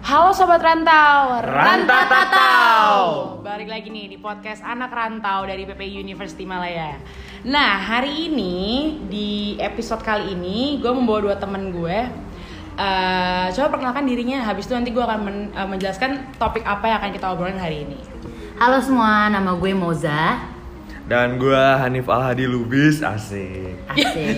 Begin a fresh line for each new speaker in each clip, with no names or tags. Halo sobat rantau,
Rantatatau.
Balik lagi nih di podcast Anak Rantau dari PPI University Malaya. Nah hari ini di episode kali ini gue membawa dua temen gue. Eh, coba perkenalkan dirinya, habis itu nanti gue akan men- eh, menjelaskan topik apa yang akan kita obrolin hari ini.
Halo semua, nama gue Moza.
Dan gue Hanif Alhadi Lubis, asik.
Asik.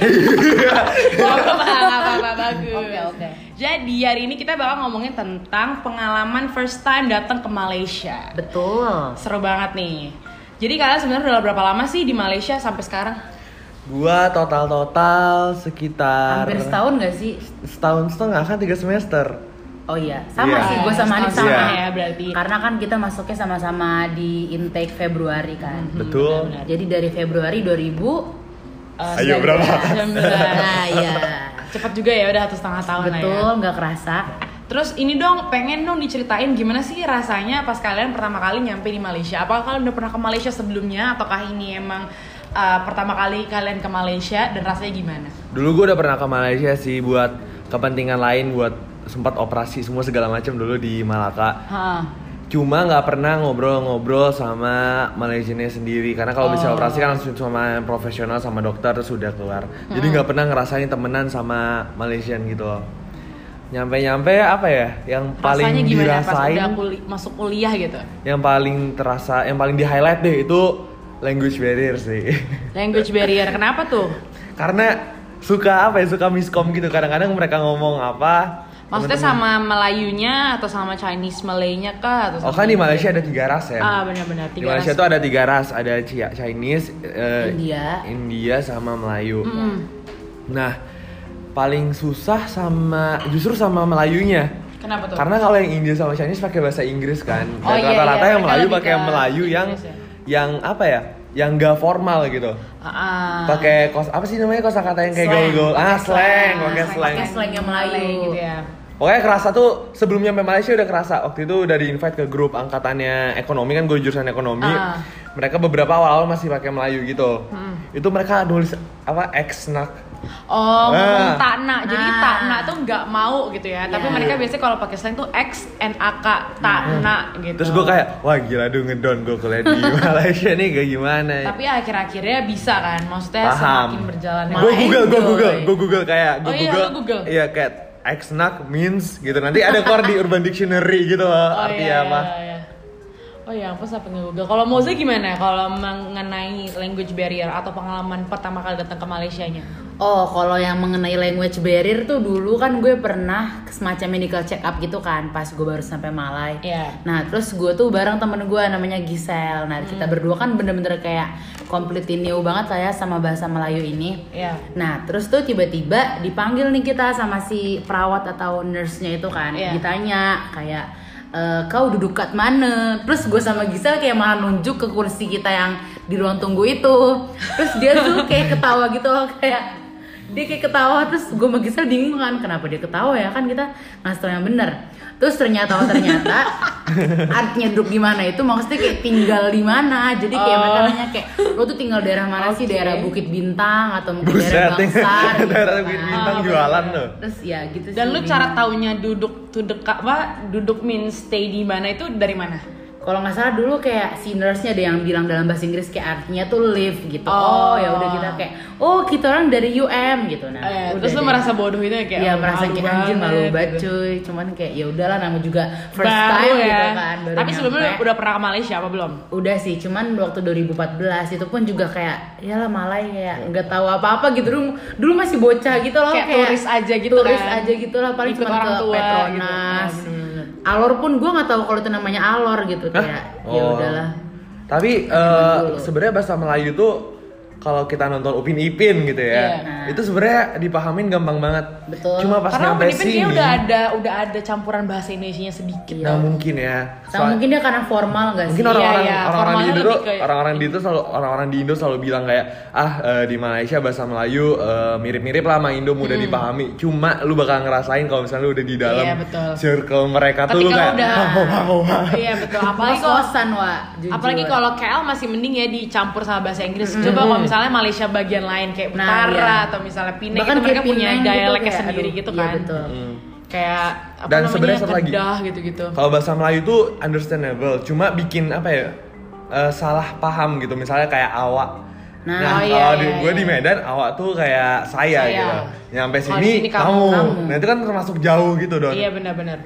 Gak apa-apa, gak apa-apa, bagus.
Oke, oke.
Jadi hari ini kita bakal ngomongin tentang pengalaman first time datang ke Malaysia.
Betul.
Seru banget nih. Jadi kalian sebenarnya udah berapa lama sih di Malaysia sampai sekarang?
Gue total-total sekitar
Hampir setahun gak sih?
setahun setengah kan tiga semester.
Oh iya,
Iya.
sama sih gue sama Hanif
Setahun
sama.
setengah ya, berarti.
Karena kan kita masuknya sama-sama di intake Februari kan.
Betul.
benar-benar.
Jadi dari Februari 2000
Eh,
Ayo, berapa?
19.
Nah, iya.
Cepet juga ya udah satu setengah tahun lah
Betul,
ya.
nggak kerasa.
Terus ini dong pengen dong diceritain gimana sih rasanya pas kalian pertama kali nyampe di Malaysia. Apakah kalian udah pernah ke Malaysia sebelumnya ataukah ini emang eh, pertama kali kalian ke Malaysia dan rasanya gimana?
Dulu gue udah pernah ke Malaysia sih buat kepentingan lain, buat sempat operasi semua segala macam dulu di Malaka.
Hah.
Cuma nggak pernah ngobrol-ngobrol sama Malaysianya sendiri karena
Oh.
kalau bisa operasi kan langsung sama yang profesional sama dokter terus udah keluar. Jadi nggak pernah ngerasain temenan sama Malaysian gitu loh. Nyampe-nyampe apa ya? Yang paling
rasanya gimana pas
dirasain,
udah kuli- masuk kuliah gitu?
yang paling terasa, yang paling di highlight deh itu language barrier sih.
Language barrier kenapa tuh?
karena suka apa ya? Suka miskom gitu. Kadang-kadang mereka ngomong apa?
Maksudnya
temen-temen-
sama Melayunya atau sama Chinese Malaynya kah atau
Oh
sama
kan di Malaysia ada tiga ras ya?
Ah benar-benar
di
tiga
Malaysia
ras.
tuh ada tiga ras, ada Ci- Chinese, eh,
India.
India sama Melayu.
Mm.
Nah, paling susah sama justru sama Melayunya.
Kenapa tuh?
Karena kalau yang India sama Chinese pakai bahasa Inggris kan. Dan
Oh, iya,
rata-rata
iya.
yang
Mereka
Melayu
lebih
pakai
ke
yang Melayu yang
Inggris
yang apa ya? Yang gak formal gitu.
Ah, ah.
Pakai kos apa sih namanya kosakata yang kayak
Slang.
gaul-gaul? Ah, slang, pakai slang.
Pakai slang yang Melayu.
gitu ya.
Pokoknya kerasa tuh sebelum nyampe Malaysia udah kerasa. Waktu itu udah di invite ke grup angkatannya ekonomi kan gue jurusan ekonomi.
Ah. Hmm.
Mereka beberapa awal-awal masih pakai Melayu gitu. Itu mereka nulis apa eksnak.
Oh, ngomong
Ah.
takna. Jadi
Nah.
takna tuh nggak mau gitu ya. Tapi
Iya.
mereka biasanya kalau pakai slang tuh X N A K takna gitu.
Hmm. Terus gue kayak wah gila dong ngedon gue kuliah di Malaysia nih kayak gimana. ya.
Tapi akhir-akhirnya bisa kan. Maksudnya
Paham.
semakin Oh, berjalan.
Gue Google, gue
Main,
Google,
coy.
gue Google kayak gue
Oh iya, lu Google.
Iya kayak eksnak means gitu. Nanti ada keluar di Urban Dictionary gitu loh
Oh iya,
artinya apa.
iya, iya. Oh ya, aku sampai nge-google. Kalau Moza gimana? Kalau mengenai language barrier atau pengalaman pertama kali datang ke Malaysianya?
Oh, kalau yang mengenai language barrier tuh dulu kan gue pernah semacam medical check up gitu kan pas gue baru sampai Malai.
Iya.
Nah, terus gue tuh bareng temen gue namanya Gisel. Nah, kita berdua kan bener-bener kayak completely new banget lah ya sama bahasa Melayu ini.
Iya.
Nah, terus tuh tiba-tiba dipanggil nih kita sama si perawat atau nurse-nya itu kan.
Iya.
Ditanya kayak "E, kau duduk kat mana? Terus gue sama Gisel kayak malah nunjuk ke kursi kita yang di ruang tunggu itu. Terus dia tuh kayak ketawa gitu loh kayak dia kayak ketawa terus gue sama Gisel bingung kan kenapa dia ketawa ya kan kita ngasih tau yang bener terus ternyata oh ternyata artinya duduk di mana itu maksudnya kayak tinggal di mana jadi kayak mereka
Oh.
nanya kayak lo tuh tinggal daerah mana sih
Oke.
daerah Bukit Bintang atau mungkin
Buset,
daerah Bangsar gitu
daerah
kan.
bintang
Ah,
jualan tuh.
terus ya gitu sih
Dan lu
bingung.
cara taunya duduk tuh dekat apa duduk mean stay di mana itu dari mana?
kalau nggak salah dulu kayak si nurse-nya ada yang bilang dalam bahasa Inggris kayak artinya tuh live gitu
Oh.
oh, ya udah kita kayak oh kita orang dari UM gitu nah
Eh,
udah
terus lu
deh.
merasa bodoh itu ya, kayak
Iya
"Oh,
merasa
malu
kayak anjir malu
banget,"
banget
gitu.
cuy cuman kayak ya udahlah nama juga first
Baru
time
ya.
gitu kan baru
Tapi sebelumnya
nyampe.
udah pernah ke Malaysia apa belum?
udah sih cuman waktu 2014 itu pun juga kayak ya lah malai kayak nggak tahu apa-apa gitu dulu dulu masih bocah gitu loh
Iya. Kayak
kayak,
turis aja gitu
turis
kan.
aja gitu lah paling
Ikut orang
cuma ke
tua gitu.
Petronas
Ah, bener-bener.
alor pun gue nggak tahu kalau itu namanya alor gitu
Hah?
kayak ya
Oh.
udahlah
Tapi eh, sebenarnya bahasa Melayu tuh kalau kita nonton Upin Ipin gitu ya,
Iya.
itu sebenarnya dipahamin gampang banget.
Betul.
Cuma pas
Karena Upin
nyampe
Ipin
sini,
kayaknya udah ada udah ada campuran bahasa Indonesia sedikit.
nah mungkin ya.
sama
Soal-
Iya. mungkin dia karena formal nggak sih
mungkin orang-orang
iya,
orang-orang di
formalnya
Indo tuh
lebih ke-
orang-orang di Indo selalu orang-orang di Indo selalu bilang kayak ah eh, di Malaysia bahasa Melayu eh, mirip-mirip lah sama Indo mudah dipahami. Cuma lu bakal ngerasain kalau misalnya lu udah di dalam
Hmm. Iya, betul.
circle mereka tuh lu
Ketika
kayak
udah
"Wah, wah, wah, wah."
Iya betul. Apalagi kalau
kos-kosan wa jujur.
Apalagi kalau KL masih mending ya dicampur sama bahasa Inggris. Coba kalau misalnya Malaysia bagian lain kayak
Nah,
Utara
iya.
atau misalnya Pinang
Bahkan
itu mereka
kayak
punya
Pinang gitu
dialeknya
kayak,
sendiri
aduh,
gitu
iya,
kan.
betul.
Hmm.
kayak apa
Dan sebenarnya
namanya
satu lagi.
kedah gitu-gitu.
Kalau bahasa Melayu itu understandable, cuma bikin apa ya? eh, salah paham gitu. Misalnya kayak awak.
Nah,
oh iya,
kalau
iya,
di, gue
iya.
di Medan awak tuh kayak saya,
Saya.
gitu. Nyampe
Kalau
sini,
di sini kamu,
kamu.
kamu.
Nah, itu kan termasuk jauh gitu, Don.
Iya benar-benar.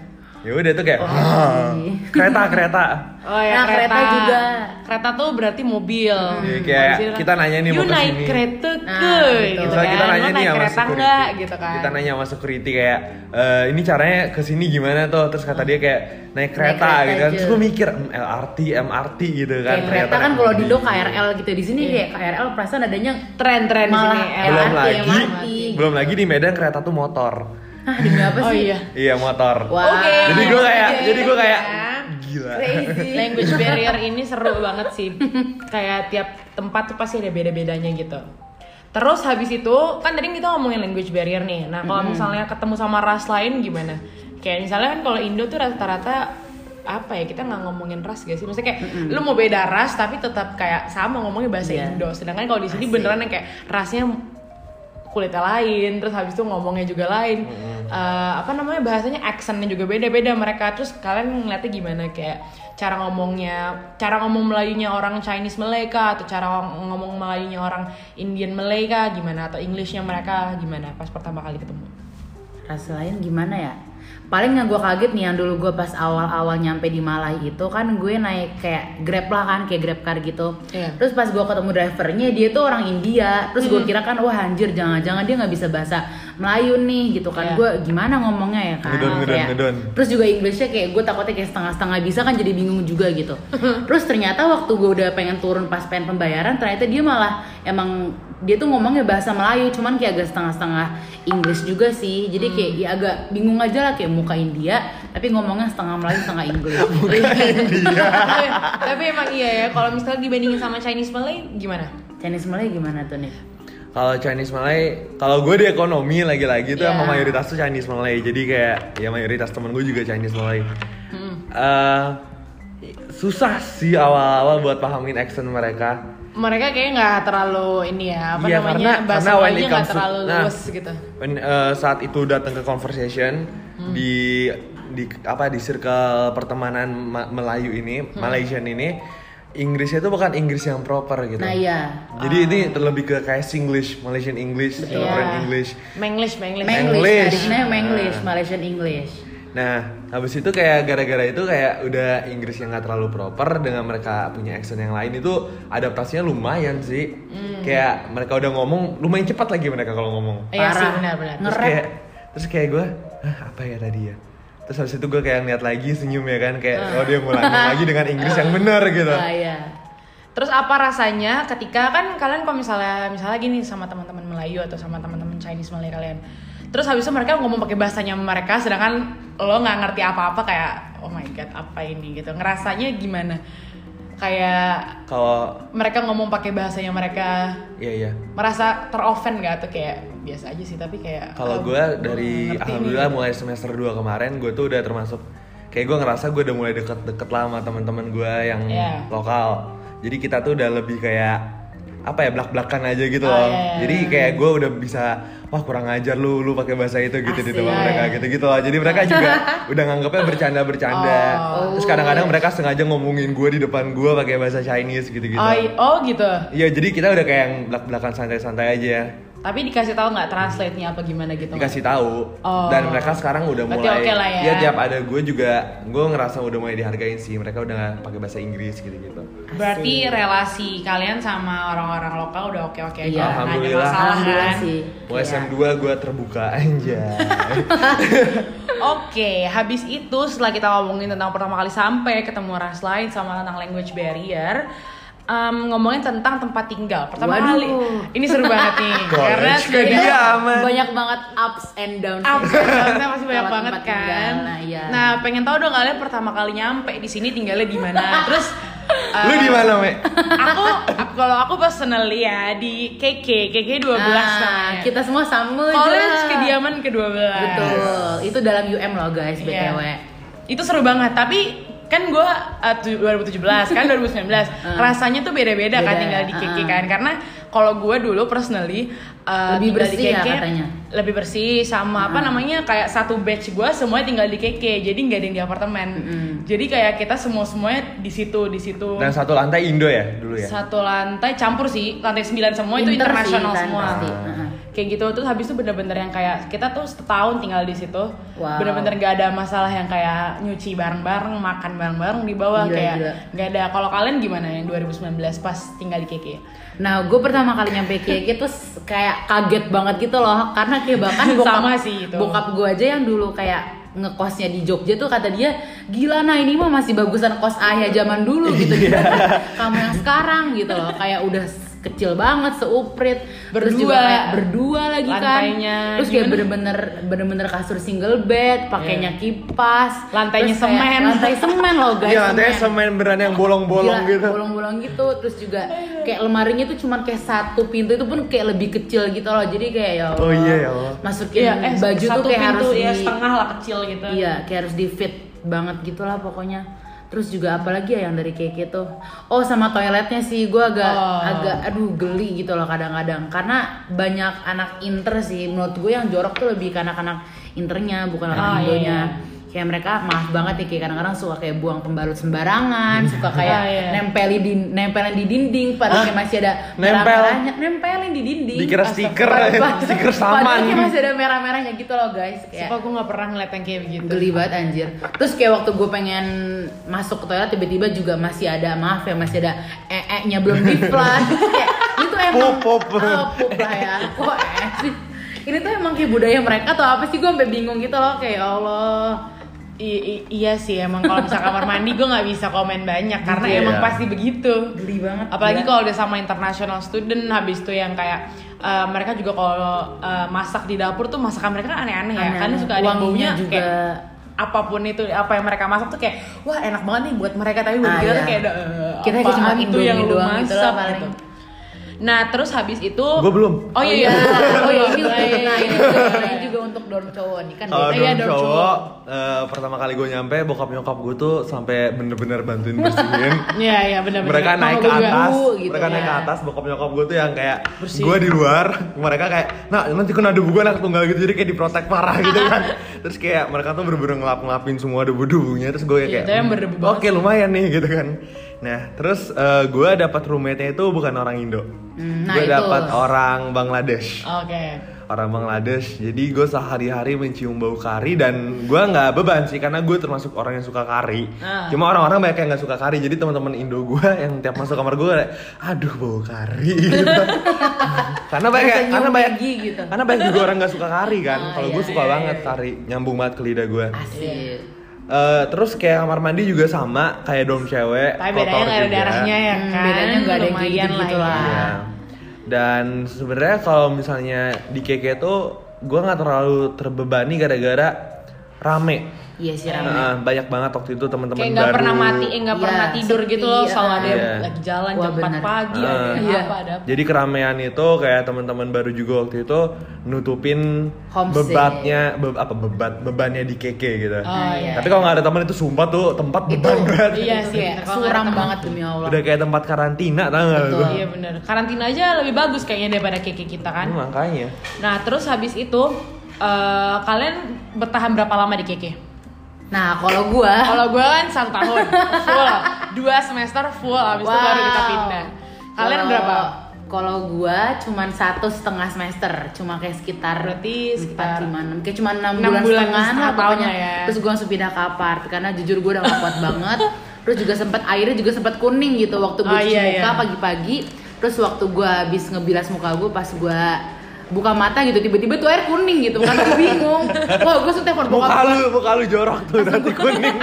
Ya udah itu kayak
Oh,
"Hah."
iya.
kereta kereta.
Oh ya,
Nah, kereta juga.
Kereta tuh berarti mobil.
Jadi Iya, kayak
Kalau di sini
kita nanya nih
you
mau ke
naik
sini."
kereta ke
Nah,
gitu
gitu.
Misalnya
kan.
kita nanya
Lo
nih
naik
sama
kereta
security.
enggak gitu kan.
Kita nanya sama security kayak "Eh, ini caranya ke sini gimana tuh? Terus kata dia kayak naik kereta,
kereta
gitu kan. Terus
aja.
gue mikir "Hmm, LRT, MRT gitu kan.
Kayak
Ternyata
kereta kan
naik
kalau di
mobil.
do KRL gitu di
Iya.
sini kayak KRL perasaan adanya
tren-tren di sini.
Malah
eh,
belum
LRT,
lagi
MRT.
belum lagi di Medan kereta tuh motor.
ah demi apa
Oh
sih?
iya.
Iya motor.
Wah.
Oke.
Jadi gue kayak
Oke,
jadi gue kayak
ya.
gila.
Crazy.
Language barrier ini seru banget sih. Kayak tiap tempat tuh pasti ada beda-bedanya gitu. Terus habis itu kan tadi kita ngomongin language barrier nih. Nah, kalau misalnya ketemu sama ras lain gimana? Kayak misalnya kan kalau Indo tuh rata-rata apa ya kita nggak ngomongin ras gak sih maksudnya kayak lu mau beda ras tapi tetap kayak sama ngomongnya bahasa
Iya.
Indo sedangkan kalau di sini beneran yang kayak rasnya kulitnya lain terus habis itu ngomongnya juga lain
Hmm.
Eh, apa namanya bahasanya aksennya juga beda-beda mereka terus kalian ngeliatnya gimana kayak cara ngomongnya cara ngomong Melayunya orang Chinese Malayka atau cara ngom- ngomong Melayunya orang Indian Malayka gimana atau Englishnya mereka gimana pas pertama kali ketemu
Ras lain gimana ya? Paling yang gue kaget nih yang dulu gue pas awal-awal nyampe di Malahi itu kan gue naik kayak grab lah kan kayak grab car gitu.
Iya. Hmm.
Terus pas gue ketemu drivernya dia tuh orang India. Terus gue kira kan wah anjir jangan-jangan dia nggak bisa bahasa Melayu nih gitu
Iya.
kan. Gue gimana ngomongnya ya kan?
Ngedon, ngedon,
Kayak-
ngedon.
Terus juga Inggrisnya kayak gue takutnya kayak setengah-setengah bisa kan jadi bingung juga gitu. Terus ternyata waktu gue udah pengen turun pas pengen pembayaran ternyata dia malah emang dia tuh ngomongnya bahasa Melayu cuman kayak agak setengah-setengah Inggris juga sih. Jadi
Hmm.
kayak ya agak bingung aja lah kayak muka India tapi ngomongnya setengah Melayu setengah Inggris.
Iya.
tapi, tapi emang iya ya kalau misalnya dibandingin sama Chinese Malay gimana
Chinese Melayu gimana tuh nih?
Kalau Chinese Malay, kalau gue di ekonomi lagi-lagi tuh
Iya.
emang mayoritas tuh Chinese Malay. Jadi kayak ya mayoritas temen gue juga Chinese Malay.
Hmm.
Eh, susah sih awal-awal buat pahamin accent mereka.
mereka kayaknya nggak terlalu ini ya apa
Iya,
namanya
karena-
bahasa
karena when
Melayunya
it
nggak
comes to-
terlalu
nah.
luwes gitu
When, eh, saat itu datang ke conversation
Hmm.
di di apa di circle pertemanan Ma- Melayu ini,
Hmm.
Malaysian ini, Inggrisnya tuh bukan Inggris yang proper gitu.
Nah iya.
Jadi ini lebih ke kayak Singlish, Malaysian English, Singaporean
Iya.
English.
Menglish Menglish
Manglish.
Tadinya Manglish,
Nah.
Malaysian English.
Nah, habis itu kayak gara-gara itu kayak udah Inggris yang nggak terlalu proper dengan mereka punya accent yang lain itu adaptasinya lumayan sih.
Hmm.
Kayak mereka udah ngomong lumayan cepat lagi mereka kalau ngomong.
iya sih
Parah.
benar-benar
Terus
Ngerap.
kayak terus kayak gue, "Hah, apa ya tadi ya? Terus habis itu gue kayak ngeliat lagi senyum ya kan kayak oh dia mulai ngomong lagi dengan Inggris yang benar gitu.
Nah iya.
Terus apa rasanya ketika kan kalian kalau misalnya misalnya gini sama teman-teman Melayu atau sama teman-teman Chinese Malay kalian. Terus habis itu mereka ngomong pakai bahasanya mereka sedangkan lo nggak ngerti apa-apa kayak oh my god apa ini gitu. Ngerasanya gimana? Kayak
Kalau
mereka ngomong pakai bahasanya mereka
iya iya.
merasa teroffend gak atau kayak biasa aja sih tapi kayak ah,
Kalau gue dari
ngerti nih,
alhamdulillah
gitu.
mulai semester 2 kemarin gue tuh udah termasuk kayak gue ngerasa gue udah mulai deket-deket lah sama teman-teman gue yang
Iya.
lokal. Jadi kita tuh udah lebih kayak apa ya blak-blakan aja gitu
Oh,
loh.
iya, iya.
Jadi kayak gue udah bisa wah kurang ajar lu lu pakai bahasa itu gitu di
Asik.
depan
Iya,
mereka
iya.
gitu-gitu loh. Jadi mereka juga udah nganggapnya bercanda-bercanda.
Oh.
Terus kadang-kadang mereka sengaja ngomongin gue di depan gue pakai bahasa Chinese gitu-gitu.
oh, i- oh gitu
Iya, jadi kita udah kayak yang blak-blakan santai-santai aja.
tapi dikasih tahu nggak translate nya apa gimana gitu
dikasih tahu
Oh.
dan mereka sekarang udah
Berarti
mulai
oke lah ya.
tiap ada gue juga gue ngerasa udah mulai dihargain sih mereka udah pakai bahasa Inggris gitu gitu
Berarti relasi kalian sama orang-orang lokal udah oke-oke aja.
Iya.
nggak ada
Alhamdulillah.
masalah
Alhamdulillah
kan.
sih.
mulai
Iya.
SM 2 gue terbuka aja
Oke, habis itu setelah kita ngomongin tentang pertama kali sampai ketemu ras lain sama tentang language barrier, em, ngomongin tentang tempat tinggal. Pertama
Waduh.
kali ini seru banget nih
College
karena
ke
sebenarnya-
dia. Kediaman.
Banyak banget ups and downs.
Ups and downs-nya pasti banyak
Tempat
banget
tempat
kan.
tinggal, nah, iya.
Nah, pengen tahu dong kalian pertama kali nyampe di sini tinggalnya di mana. Terus
lu
em,
di mana me
Aku aku- kalau aku personally ya di KK, KK 12
Ah,
namanya.
kita semua sama
ya. College
juga.
kediaman ke-12.
Betul. Itu dalam UM loh guys, BTW.
Iya. Itu seru banget, tapi kan gue 2017 kan 2019 rasanya tuh beda-beda kan
Ah. Beda,
tinggal di KK
uh-uh.
kan karena kalau gue dulu personally uh,
Lebih
tinggal
bersih
di
ya
KK,
katanya? Ah.
lebih bersih sama apa namanya kayak satu batch gue semuanya tinggal di KK jadi nggak ada yang di apartemen
Mm-mm.
jadi kayak kita semua semuanya di situ di situ
Dan satu lantai Indo ya dulu ya.
satu lantai campur sih lantai 9 semua itu
Inter sih
internasional
kan,
semua
pasti. Heeh.
kayak gitu terus habis itu bener-bener yang kayak kita tuh setahun tinggal di situ
Wow.
bener-bener gak ada masalah yang kayak nyuci bareng-bareng makan bareng-bareng di bawah
Gila,
kayak
gila.
gak ada kalau kalian gimana yang 2019 pas tinggal di KK
Nah, gue pertama kali nyampe Kiai tuh s- kayak kaget banget gitu loh, karena kayak bahkan bokap,
Sama sih itu.
bokap gue aja yang dulu kayak ngekosnya di Jogja tuh kata dia gila nah ini mah masih bagusan kos ayah zaman dulu gitu
Iya.
gimana kamu yang sekarang gitu loh kayak udah s- kecil banget seuprit terus
Berdua.
juga kayak berdua lagi
Lantainya
kan terus
gimana?
kayak
Iya.
bener-bener bener-bener kasur single bed pakainya kipas
Lantainya
terus kayak
semen.
lantai semen loh guys
Iya, lantainya
semen.
semen beneran yang bolong-bolong
Gila,
gitu.
bolong-bolong gitu terus juga kayak lemarinya tuh cuman kayak satu pintu itu pun kayak lebih kecil gitu loh jadi kayak ya Allah,
Oh iya, ya Allah.
masukin baju tuh
eh, satu
kayak
pintu
harus
ya
di
setengah lah kecil gitu
iya kayak harus di fit banget gitulah pokoknya terus juga apalagi ya yang dari keke tuh oh sama toiletnya sih gue agak
Oh.
agak aduh geli gitu loh kadang-kadang karena banyak anak inter sih menurut gue yang jorok tuh lebih ke anak-anak internya bukan anak
Oh, iya,
indonya
iya.
kayak mereka maaf banget ya kayak kadang-kadang suka kayak buang pembalut sembarangan suka kayak
Ah, iya.
nempelin di nempelin di dinding padahal kayak masih ada
Nempel?
merah-merahnya nempelin di dinding
Dikira
Astaga.
stiker,
Padahal-
stiker
padahal
saman.
kayak masih ada merah-merahnya gitu loh guys kayak
Sumpah gue gak pernah ngeliat yang kayak begitu
Gitu. geli banget anjir terus kayak waktu gue pengen masuk ke toilet tiba-tiba juga masih ada maaf ya masih ada ee nya belum di flush kayak itu emang
Pup, pup.
Oh, pup lah ya kok ee sih ini tuh emang kayak budaya mereka atau apa sih gue sampai bingung gitu loh kayak ya Allah
I- i- iya sih emang kalau bisa kamar mandi gue nggak bisa komen banyak karena
Iya.
emang pasti begitu
geli banget
apalagi
Gila.
kalau udah sama international student habis itu yang kayak eh, mereka juga kalau eh, masak di dapur tuh masakan mereka kan aneh-aneh ya
Aneh-aneh.
karena suka ada yang
Wanginya
baunya
juga.
kayak apapun itu apa yang mereka masak tuh kayak wah enak banget nih buat mereka tapi buat
Ah,
kita
iya.
tuh kayak ada, "Eh,
Kita kayak cuma
apaan tuh
Indomie
yang lu
doang gitu lah
masak
paling.
gitu. nah terus habis itu
Gue belum.
oh iya iya
oh iya ini
Iya, iya,
nah
iya.
ini juga, nah, ini juga untuk dorm cowok nih kan
Kalau
beda ya
dorm cowok, eh, pertama kali gue nyampe, bokap nyokap gue tuh sampai bener-bener bantuin bersihin.
iya iya benar benar
mereka naik ke
gua juga.
atas,
Debu gitu
mereka naik
ya.
ke atas, bokap nyokap gue tuh yang kayak
Bersih.
gue di luar, mereka kayak, nah nanti kena debu gue anak tunggal gitu, jadi kayak diprotek parah gitu kan, terus kayak mereka tuh bener-bener ngelap ngelapin semua debu debunya, terus gue
Iya,
kayak, "Hmm,
itu yang berdebu
oke lumayan nih gitu kan, nah terus eh, gue dapat roommate-nya itu bukan orang Indo,
Hmm, nah
gue
itu.
dapat orang Bangladesh
oke
orang Bangladesh jadi gue sehari-hari mencium bau kari dan gue nggak beban sih karena gue termasuk orang yang suka kari
Ah.
cuma orang-orang banyak yang nggak suka kari jadi teman-teman Indo gue yang tiap masuk kamar gue kayak aduh bau kari gitu. karena banyak
Rasa nyium
karena banyak
gigi gitu.
karena banyak juga orang nggak suka kari kan
Ah,
kalau gue
iya,
suka
iya,
banget kari nyambung banget ke lidah gue
asik
Eh, terus kayak kamar mandi juga sama kayak dom cewek
tapi bedanya
kotor
nggak ada
juga.
darahnya ya
Hmm,
kan
bedanya nggak ada yang kayak
Lumayan
gitu-gitu
ya.
lah.
Iya. Dan sebenarnya kalau misalnya di KK tuh gue nggak terlalu terbebani gara-gara rame.
iya sih Ram.
Nah, banyak banget waktu itu teman-teman
kayak
baru.
nggak pernah mati, eh, nggak
Iya,
pernah tidur
sepi,
gitu loh, selalu ada yang
iya.
lagi jalan
Wah,
jam 4
bener.
pagi,
Ah.
ada yang
Iya.
apa ada apa.
Jadi keramaian itu kayak teman-teman baru juga waktu itu nutupin
Homestay.
bebatnya be- apa bebat bebannya di KK gitu.
Oh, iya.
Tapi kalau nggak ada teman itu sumpah tuh tempat
itu
beban berat.
Iya
itu
sih,
kayak
kalau nggak ada
suram
teman.
banget demi Allah
Udah kayak tempat karantina tau nggak lu?
Betul.
Iya bener. Karantina aja lebih bagus kayaknya daripada keke kita kan.
Hmm, Makanya.
Nah terus habis itu eh, kalian bertahan berapa lama di keke?
nah kalau gua
Kalau gue kan satu tahun full, dua semester full, habis itu baru kita
Wow.
pindah. Kalian
Kalau-
berapa?
Kalau gua cuman satu setengah semester, cuma kayak sekitar
Berarti sekitar-
empat lima enam, kayak cuma enam
Enam
bulan,
bulan,
setengah lah
setengah tahun
pokoknya.
lah ya.
Terus gua langsung pindah ke apart karena jujur gua udah gak kuat banget. Terus juga sempat airnya juga sempat kuning gitu waktu gua
Oh,
cuci
iya,
muka
iya.
pagi-pagi. Terus waktu gua habis ngebilas muka gua pas gua buka mata gitu tiba-tiba tuh air kuning gitu kan gua bingung wah gua langsung telepon
Muka
bokap
lu, muka lu jorok tuh nanti kuning.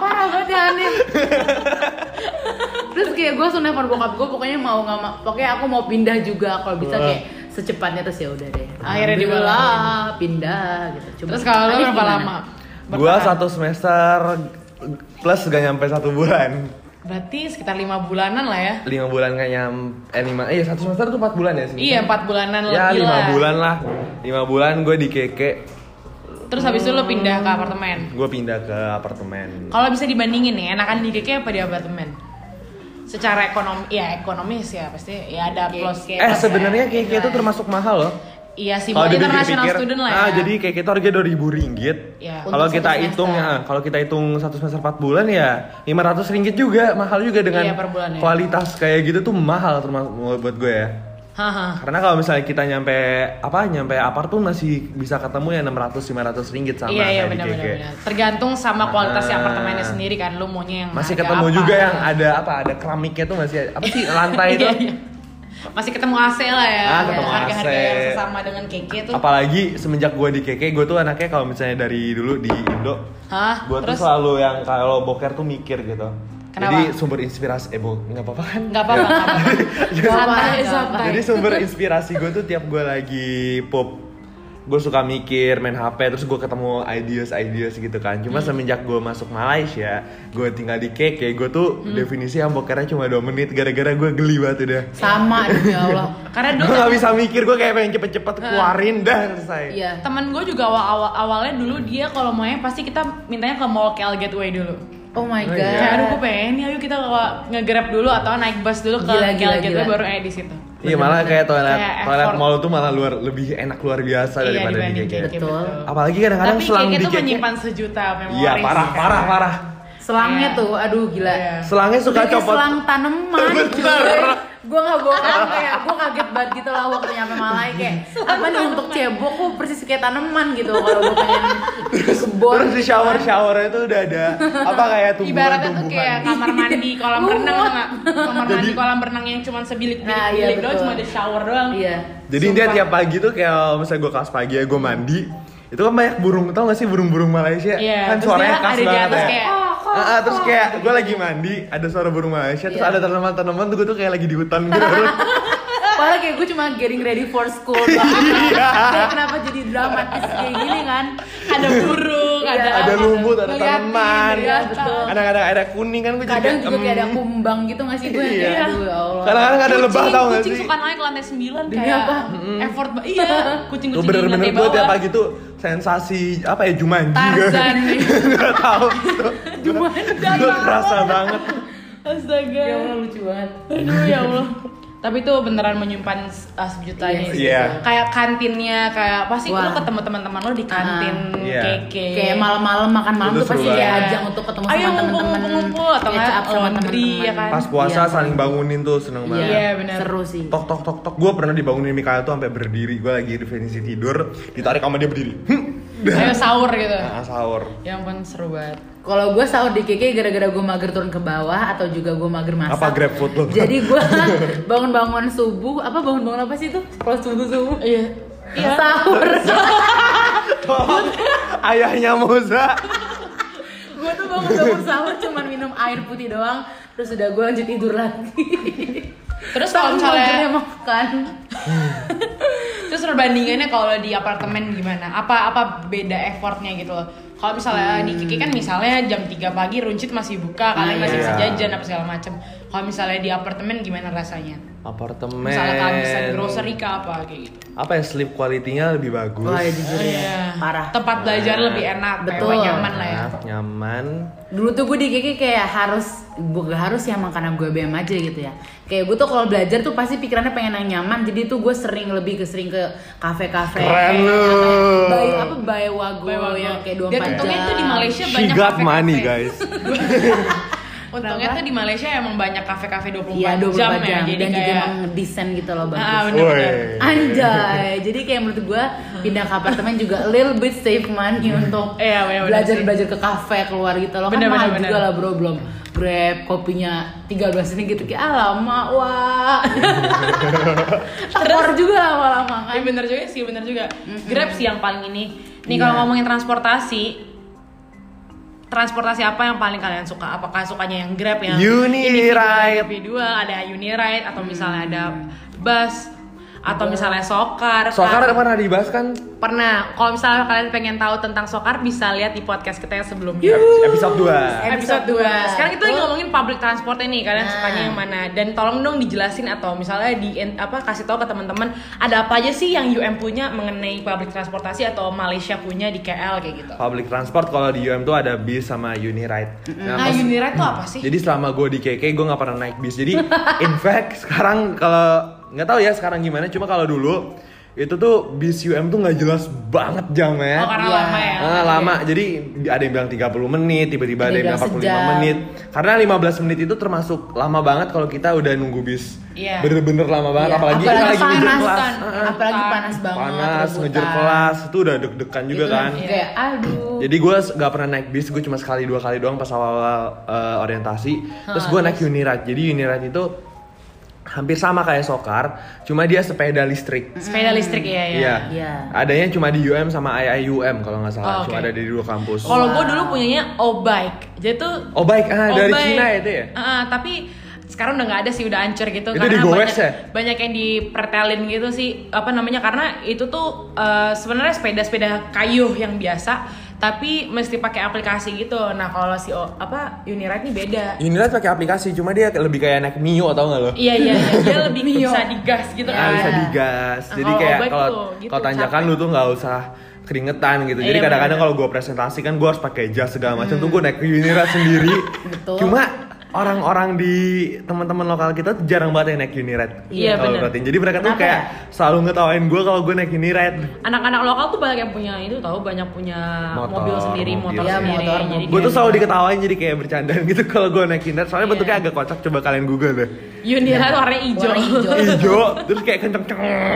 parah banget ya, aneh terus kayak gue langsung nelfon bokap gue pokoknya mau nggak mau pokoknya aku mau pindah juga kalau bisa kayak secepatnya terus ya udah deh
Akhirnya
Alhamdulillah,
dibolehin.
"Ah, pindah gitu Coba
Terus kalau lo
Hanif
berapa
gimana?
lama?
Gua
Bertahan?
satu semester plus gak nyampe satu bulan
Berarti sekitar lima bulanan lah ya.
lima bulan gak nyampe eh lima eh satu semester tuh empat bulan ya sih
Iya empat bulanan
ya
lebih
lima
lah.
bulan lah lima bulan gue di KK
Terus habis itu lo pindah ke apartemen.
gue pindah ke apartemen
Kalau bisa dibandingin nih, enakan di KK apa di apartemen? secara ekonomi ya ekonomis ya pasti ya ada
Oke,
plus
oke.
eh sebenarnya kayak itu termasuk mahal loh.
iya sih
Kalau
buat
dipikir-pikir,
international student lah ya
Ah, jadi kayak kita harganya 2000 ringgit.
Iya.
Kalau
Untuk
kita
satu
hitung
semester.
ya, kalau kita hitung satu semester 4 bulan ya 500 ringgit juga, mahal juga dengan
Iya, per bulan ya.
kualitas kayak gitu tuh mahal termasuk buat gue ya.
Haha.
Karena kalau misalnya kita nyampe apa nyampe apart pun masih bisa ketemu ya 600 500 ringgit sama
iya iya
kayak di
benar
KK.
benar benar. tergantung sama kualitas
Ah.
apartemennya sendiri kan lu maunya yang
Masih
harga
ketemu
apa.
juga yang ada apa ada keramiknya tuh masih ada- apa sih lantai itu.
Iya, iya. masih ketemu AC lah ya
Ah, ketemu
harga-harga
AC.
yang sesama dengan KK tuh
Apalagi semenjak gue di KK, gue tuh anaknya kalau misalnya dari dulu di Indo
hah
gue tuh
terus
selalu yang kalau boker tuh mikir gitu
Kenapa?
jadi sumber inspirasi eh bu nggak apa-apa kan
nggak apa-apa nggak apa-apa. santai
Nggak apa-apa.
santai
jadi sumber inspirasi gue tuh tiap gue lagi pop gue suka mikir main HP terus gue ketemu ideas ideas gitu kan cuma
Hmm.
semenjak gue masuk Malaysia gue tinggal di KK gue tuh
Hmm.
definisi yang bokernya cuma 2 menit gara-gara gue geli banget udah
sama demi Allah Kan,
karena
gue
dulu
nggak bisa mikir gue kayak pengen cepet-cepet keluarin dah selesai
iya
temen gue juga awal, awal awalnya dulu dia kalau maunya pasti kita mintanya ke mall KL Gateway dulu
oh my
Oh,
god
iya.
kayak aduh gue pengen nih ayo kita nge- nge-grab dulu atau naik bus dulu ke
Gila,
KL
gila,
Gateway
gila.
baru eh di situ
Iya malah kayak toilet
Kayak
toilet
effort.
mall tuh malah luar lebih enak luar biasa
Iya,
daripada di
dibanding
KK.
KK,
Betul.
Apalagi kadang-kadang
tapi
selang
KK
di
tuh
KK.
menyimpan sejuta memori
Iya parah parah parah.
selangnya
Kayak-
tuh aduh gila
Iya.
Selangnya suka
Itu kayak
copot.
selang tanaman
Bener.
gue gak bohong kayak gue kaget banget gitu lah waktu nyampe Malai kayak apa nih untuk cebok gue persis kayak tanaman gitu kalau gue pengen kebon
Terus di shower showernya tuh udah ada apa kayak tumbuhan
Ibaratnya tuh kayak
tumbuhan.
kamar mandi kolam
Iya.
renang tau nggak? Kamar mandi
Jadi-
kolam renang yang cuma sebilik bilik
Nah, iya,
bilik doang
betul.
cuma ada shower doang.
iya
Jadi dia tiap pagi tuh kayak misalnya gue kelas pagi ya gue mandi itu kan banyak burung tau gak sih burung-burung Malaysia
Iya,
kan
terus
suaranya
dia
khas
ada di
banget
atas
ya.
kayak, "Kok,
Ah, ah, terus kayak gue lagi mandi ada suara burung Malaysia terus
Iya.
ada tanaman-tanaman tuh gue tuh kayak lagi di hutan gitu.
Padahal kayak gue cuma getting ready for school
Ya,
Kayak kenapa jadi dramatis kayak gini kan
Ada burung,
Iya.
ada
ada
apa
lumut ada
Ngeliatin,
tanaman
gitu ya,
iya, betul.
kadang-kadang ada kuning kan gue jadi
Kadang juga
em,
kayak ada kumbang gitu gak sih gue
Iya.
kayak aduh ya Allah
kadang-kadang ada
Kucing,
lebah tau gak
kucing
sih
suka naik ke lantai 9
Demi
kayak
apa?
effort ba- iya
Gue
kucing-kucing di
bener-bener ya,
lantai
gue
bawah
tiap pagi tuh sensasi apa ya Jumanji
Tarzan
Gak tau gitu Gue kerasa banget
astaga
Ya Allah lucu banget
aduh ya Allah tapi itu beneran menyimpan uh, sejuta
Iya
ini
sih.
Iya.
kayak kantinnya kayak pasti lu
Wah.
ketemu teman-teman lu di kantin
Ah. Iya.
KK
Kayak malam-malam makan malam
Itu
tuh pasti
seru
kayak
banget.
ajang untuk ketemu
Ayo
sama temen-temen
ngumpul-ngumpul atau
catch
nggak
up sama
laundry, ya
temen-temen.
kan?
Pas puasa
Iya.
saling bangunin tuh seneng
Iya,
banget
Iya, benar.
Seru sih.
Tok tok tok tok Gue pernah dibangunin Mikael tuh sampai berdiri Gue lagi definisi tidur Ditarik sama dia berdiri Hm.
ayo sahur gitu
Nah, sahur
ya ampun seru banget
Kalau gue sahur di KK gara-gara gue mager turun ke bawah atau juga gue mager masak.
Apa grab food lo?
Jadi gue bangun-bangun subuh, apa bangun-bangun apa sih itu? Kalau subuh subuh.
iya iya
Sahur.
Tolong, Ayahnya Moza
gue tuh bangun-bangun sahur cuman minum air putih doang, terus udah gue lanjut tidur lagi. Kan
terus kalau
Tapi magernya
misalnya
makan.
terus perbandingannya kalau di apartemen gimana apa apa beda effortnya gitu loh kalau misalnya di Kiki kan misalnya jam 3 pagi runcit masih buka kalian masih bisa
Iya.
jajan apa segala macem kalau misalnya di apartemen gimana rasanya
Apartemen
misalnya kalian bisa grocery ke apa kayak gitu
Apa ya sleep quality-nya lebih bagus
Wah ya jujur ya,
Iya.
parah. Nah,
tempat belajar lebih enak
Betul. Nah.
kayak nyaman lah ya
Enak, Nah, Nyaman
dulu tuh gue di KK kayak harus gue gak harus ya makanan gue BM aja gitu ya kayak gue tuh kalau belajar tuh pasti pikirannya pengen yang nyaman jadi tuh gue sering lebih ke sering ke kafe-kafe
Keren lu.
Bayu apa Bayu Wago
Bawang
yang kayak
goreng.
dua
Dan untungnya tuh di Malaysia
She
banyak
got
kafe-kafe.
money guys
Untungnya
Kenapa?
tuh di Malaysia emang banyak kafe-kafe 24,
Iya 24 jam,
jam, ya, jadi
dan juga
kayak
emang desain gitu loh bagus.
Ah, bener-bener.
Woi.
Anjay, jadi kayak menurut gue pindah ke apartemen juga a little bit save money untuk eh,
Iya, iya, bener
belajar
sih.
belajar ke kafe keluar gitu loh. Kan
Bener,
mahal
bener,
juga
bener.
lah bro belum grab kopinya 13 ini gitu kayak ah lama wah. Tekor juga lama-lama kan.
Iya bener juga sih, bener juga. Grab sih yang paling ini. Nih kalau
Iya.
ngomongin transportasi, transportasi apa yang paling kalian suka? Apakah sukanya yang Grab yang
Uniride.
Hmm.
individual, individual, ada Uniride atau misalnya ada bus? atau misalnya sokar
Sokar pernah dibahas kan
pernah kalau misalnya kalian pengen tahu tentang sokar bisa lihat di podcast kita yang sebelumnya
episode
episode
2
Episode
2
dua.
sekarang kita lagi
Betul.
ngomongin public transport ini kalian
Nah.
sukanya yang mana dan tolong dong dijelasin atau misalnya di apa kasih tahu ke teman-teman ada apa aja sih yang UM punya mengenai public transportasi atau Malaysia punya di KL kayak gitu
Public transport kalau di UM tuh ada bis sama Uniride. Nah,
nah
pas-
Uniride tuh apa sih
Jadi selama gue di KK gue nggak pernah naik bis. Jadi in fact sekarang kalau nggak tahu ya sekarang gimana. Cuma kalau dulu itu tuh bis UM tuh nggak jelas banget jamnya.
oh karena
Iya.
lama ya
Ah, lama. Jadi ada yang bilang 30 menit, tiba-tiba ada, yang bilang 45
sejam.
menit. Karena 15 menit itu termasuk lama banget kalau kita udah nunggu bis.
Iya.
Bener-bener lama banget
Iya,
apalagi
apalagi
apalagi ngejar
panas
kelas.
kan.
Ah, ah.
apalagi
Rebutan.
panas banget
Panas ngejar
rebutan. Iya,
kelas itu udah deg-degan juga
Itu
kan.
kayak aduh
Jadi gue gak pernah naik bis, gue cuma sekali dua kali doang pas awal-awal eh, orientasi. Terus gue naik Uniride. Jadi Uniride itu hampir sama kayak Sokar, cuma dia sepeda listrik.
sepeda listrik ya ya
Iya.
Iya.
Adanya cuma di UM sama IIUM kalau nggak
Oh,
salah.
oke. Oh,
Cuma ada di dua kampus.
Kalau gue dulu punyanya O-Bike, jadi tuh
Oh baik, ah, dari
Obey.
Cina itu ya?
Heeh, Ah, tapi sekarang udah nggak ada sih, udah hancur gitu.
Itu digowes
banyak,
ya?
banyak yang dipertelin gitu sih. Apa namanya? Karena itu tuh eh, sebenarnya sepeda-sepeda kayu yang biasa, tapi mesti pakai aplikasi gitu. Nah kalau si O- apa Uniride ini beda.
Unilad pakai aplikasi, cuma dia lebih kayak naik Mio tau nggak lo?
Iya iya, iya. dia lebih bisa digas gitu
Ah,
kan.
bisa digas.
Nah,
Jadi
kalau
kayak
obat
kalau
tuh, gitu,
kalau tanjakan
capek.
lu tuh nggak usah keringetan gitu. Jadi
Iya,
kadang-kadang
bener. Hmm.
kalau gua presentasi kan gua harus pakai jas segala macam tuh gua naik Unirad sendiri.
Betul.
Cuma orang-orang di teman-teman lokal kita tuh jarang banget yang naik Unirad.
Iya,
Kalau
bener. ya?
perhatiin. Jadi mereka tuh
Kenapa
kayak selalu ngetawain gua kalau gua naik Unirad.
Anak-anak lokal tuh banyak yang punya itu tahu banyak punya
Motor,
mobil sendiri, motor,
mobil. Iya,
sendiri.
motor,
Jadi
mobil.
Gua tuh
kayak-
selalu diketawain jadi kayak bercandaan gitu kalau gua naik Unirad. Soalnya
Iya.
bentuknya agak kocak coba kalian google deh.
Uniride warnanya hijau.
Warna hijau.
Ijo, terus kayak kenceng-kenceng.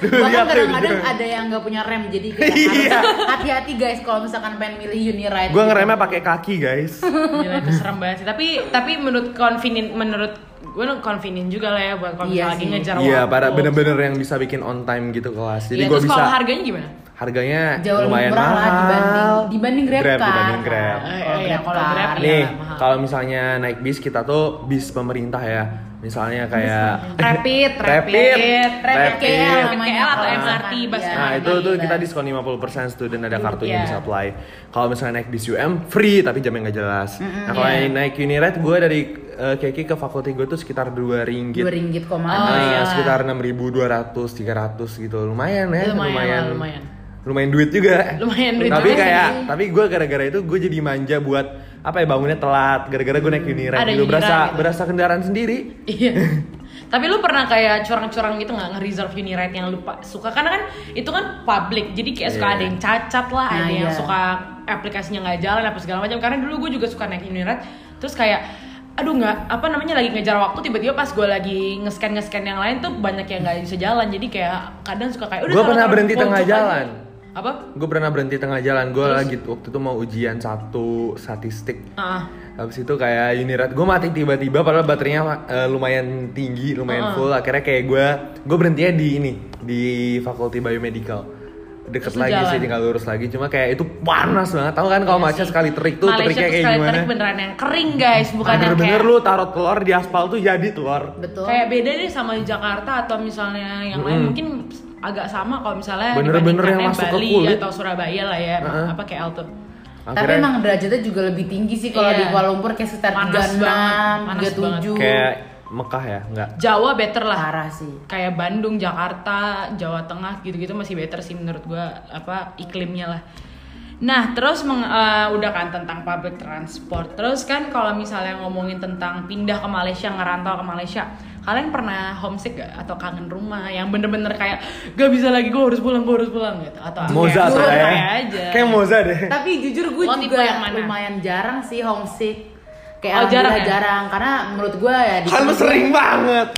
Duh,
Bahkan
lihat tuh
kadang-kadang
dia.
ada yang nggak punya rem jadi kayak
Iya.
harus hati-hati guys kalau misalkan pengen milih Uniride.
Gua ngeremnya pakai kaki, guys.
Gila itu serem banget sih. Tapi tapi menurut convenient menurut gue convenient juga lah ya buat kalau
Iya
misalnya lagi
sih.
ngejar
Iya,
waktu.
para bener-bener yang bisa bikin on time gitu kelas. Jadi
Iya,
gua
terus
bisa
kalau harganya gimana?
harganya
Jauh lebih
lumayan
murah lah
mahal.
dibanding- dibanding Grab kan.
dibanding Grab.
Eh,
Kalau
iya,
Grab
kalau
car.
Grab
Nih,
ya, mahal.
kalau misalnya naik bis kita tuh bis pemerintah ya. Misalnya kayak
Rapid,
Rapid.
rapid,
Rapid KL
Rapid
namanya.
KL atau
Kalau
MRT,
misalkan,
bus
iya.
yang
Nah,
ada.
itu tuh
Iya.
kita diskon 50% student ada kartunya
Iya.
bisa apply. Kalau misalnya naik bis UM free tapi jamnya nggak jelas. Nah, kalau
Iya.
yang naik Uniride gue dari eh, KK ke fakulti gue tuh sekitar 2 ringgit.
dua ringgit koma
Oh,
Eh,
iya.
sekitar 6.200, 300 gitu. Lumayan
Lumayan lah,
ya, lumayan.
lumayan.
lumayan duit juga.
Lumayan duit
Tapi
juga
kayak
sih.
tapi gue gara-gara itu gue jadi manja buat apa ya bangunnya telat gara-gara gue naik Uniride
Hmm. Ada
gitu.
Uniride
berasa
gitu.
berasa kendaraan sendiri.
Iya. Tapi lu pernah kayak curang-curang gitu nggak nge-reserve Uniride yang lupa suka karena kan itu kan public. Jadi kayak suka
Iya.
ada yang cacat lah, ada
Nah,
yang
iya.
suka aplikasinya nggak jalan apa segala macam. Karena dulu gue juga suka naik Uniride terus kayak aduh nggak apa namanya lagi ngejar waktu tiba-tiba pas gue lagi nge-scan nge-scan yang lain tuh banyak yang nggak bisa jalan jadi kayak kadang suka kayak
Gua
taruh-
pernah
taruh
berhenti
pojok
tengah
aja.
jalan.
apa
Gue pernah berhenti tengah jalan. Gue lagi waktu itu mau ujian satu statistik.
Ah.
Habis itu kayak Unirad gue mati tiba-tiba padahal baterainya eh, lumayan tinggi, lumayan full. Akhirnya kayak gue gue berhentinya di ini di Fakulti Biomedical.
Terus
Deket
lu
lagi sih
jalan. Iya
tinggal lurus lagi. Cuma kayak itu panas banget. Tahu kan kalau Malaysia sekali terik tuh
Malaysia tuh
teriknya kayak
sekali
gimana?
terik beneran yang kering guys bukan yang
Bener-bener
kayak
lu taruh telur di aspal tuh jadi telur.
betul
Eh, Kayak beda deh sama di Jakarta atau misalnya yang lain mungkin agak sama kalau misalnya
Bener-bener yang
dibandingkannya
masuk ke
Bali
kulit.
atau Surabaya lah ya, apa KL tuh.
tapi
Akhirnya
emang derajatnya juga lebih tinggi sih kalau
Iya.
di Kuala Lumpur kayak sekitar
Panas banget, panas
36, 37
kayak Mekah ya, enggak.
Jawa better lah.
parah sih
Kayak Bandung, Jakarta, Jawa Tengah gitu-gitu masih better sih menurut gua apa iklimnya lah. Nah, terus meng- eh, udah kan tentang public transport. Terus kan kalau misalnya ngomongin tentang pindah ke Malaysia, ngerantau ke Malaysia, kalian pernah homesick gak? atau kangen rumah yang bener-bener kayak gak bisa lagi gue harus pulang, gue harus pulang gitu atau
Moza
kayak,
saya.
santai aja.
eh? Kayak Moza deh.
tapi jujur gue
Lo tipe
juga
yang mana?
lumayan jarang sih homesick
Oh,
kayak
jarang
alhamdulillah jarang,
ya?
karena menurut gue ya di
Kan lu sering banget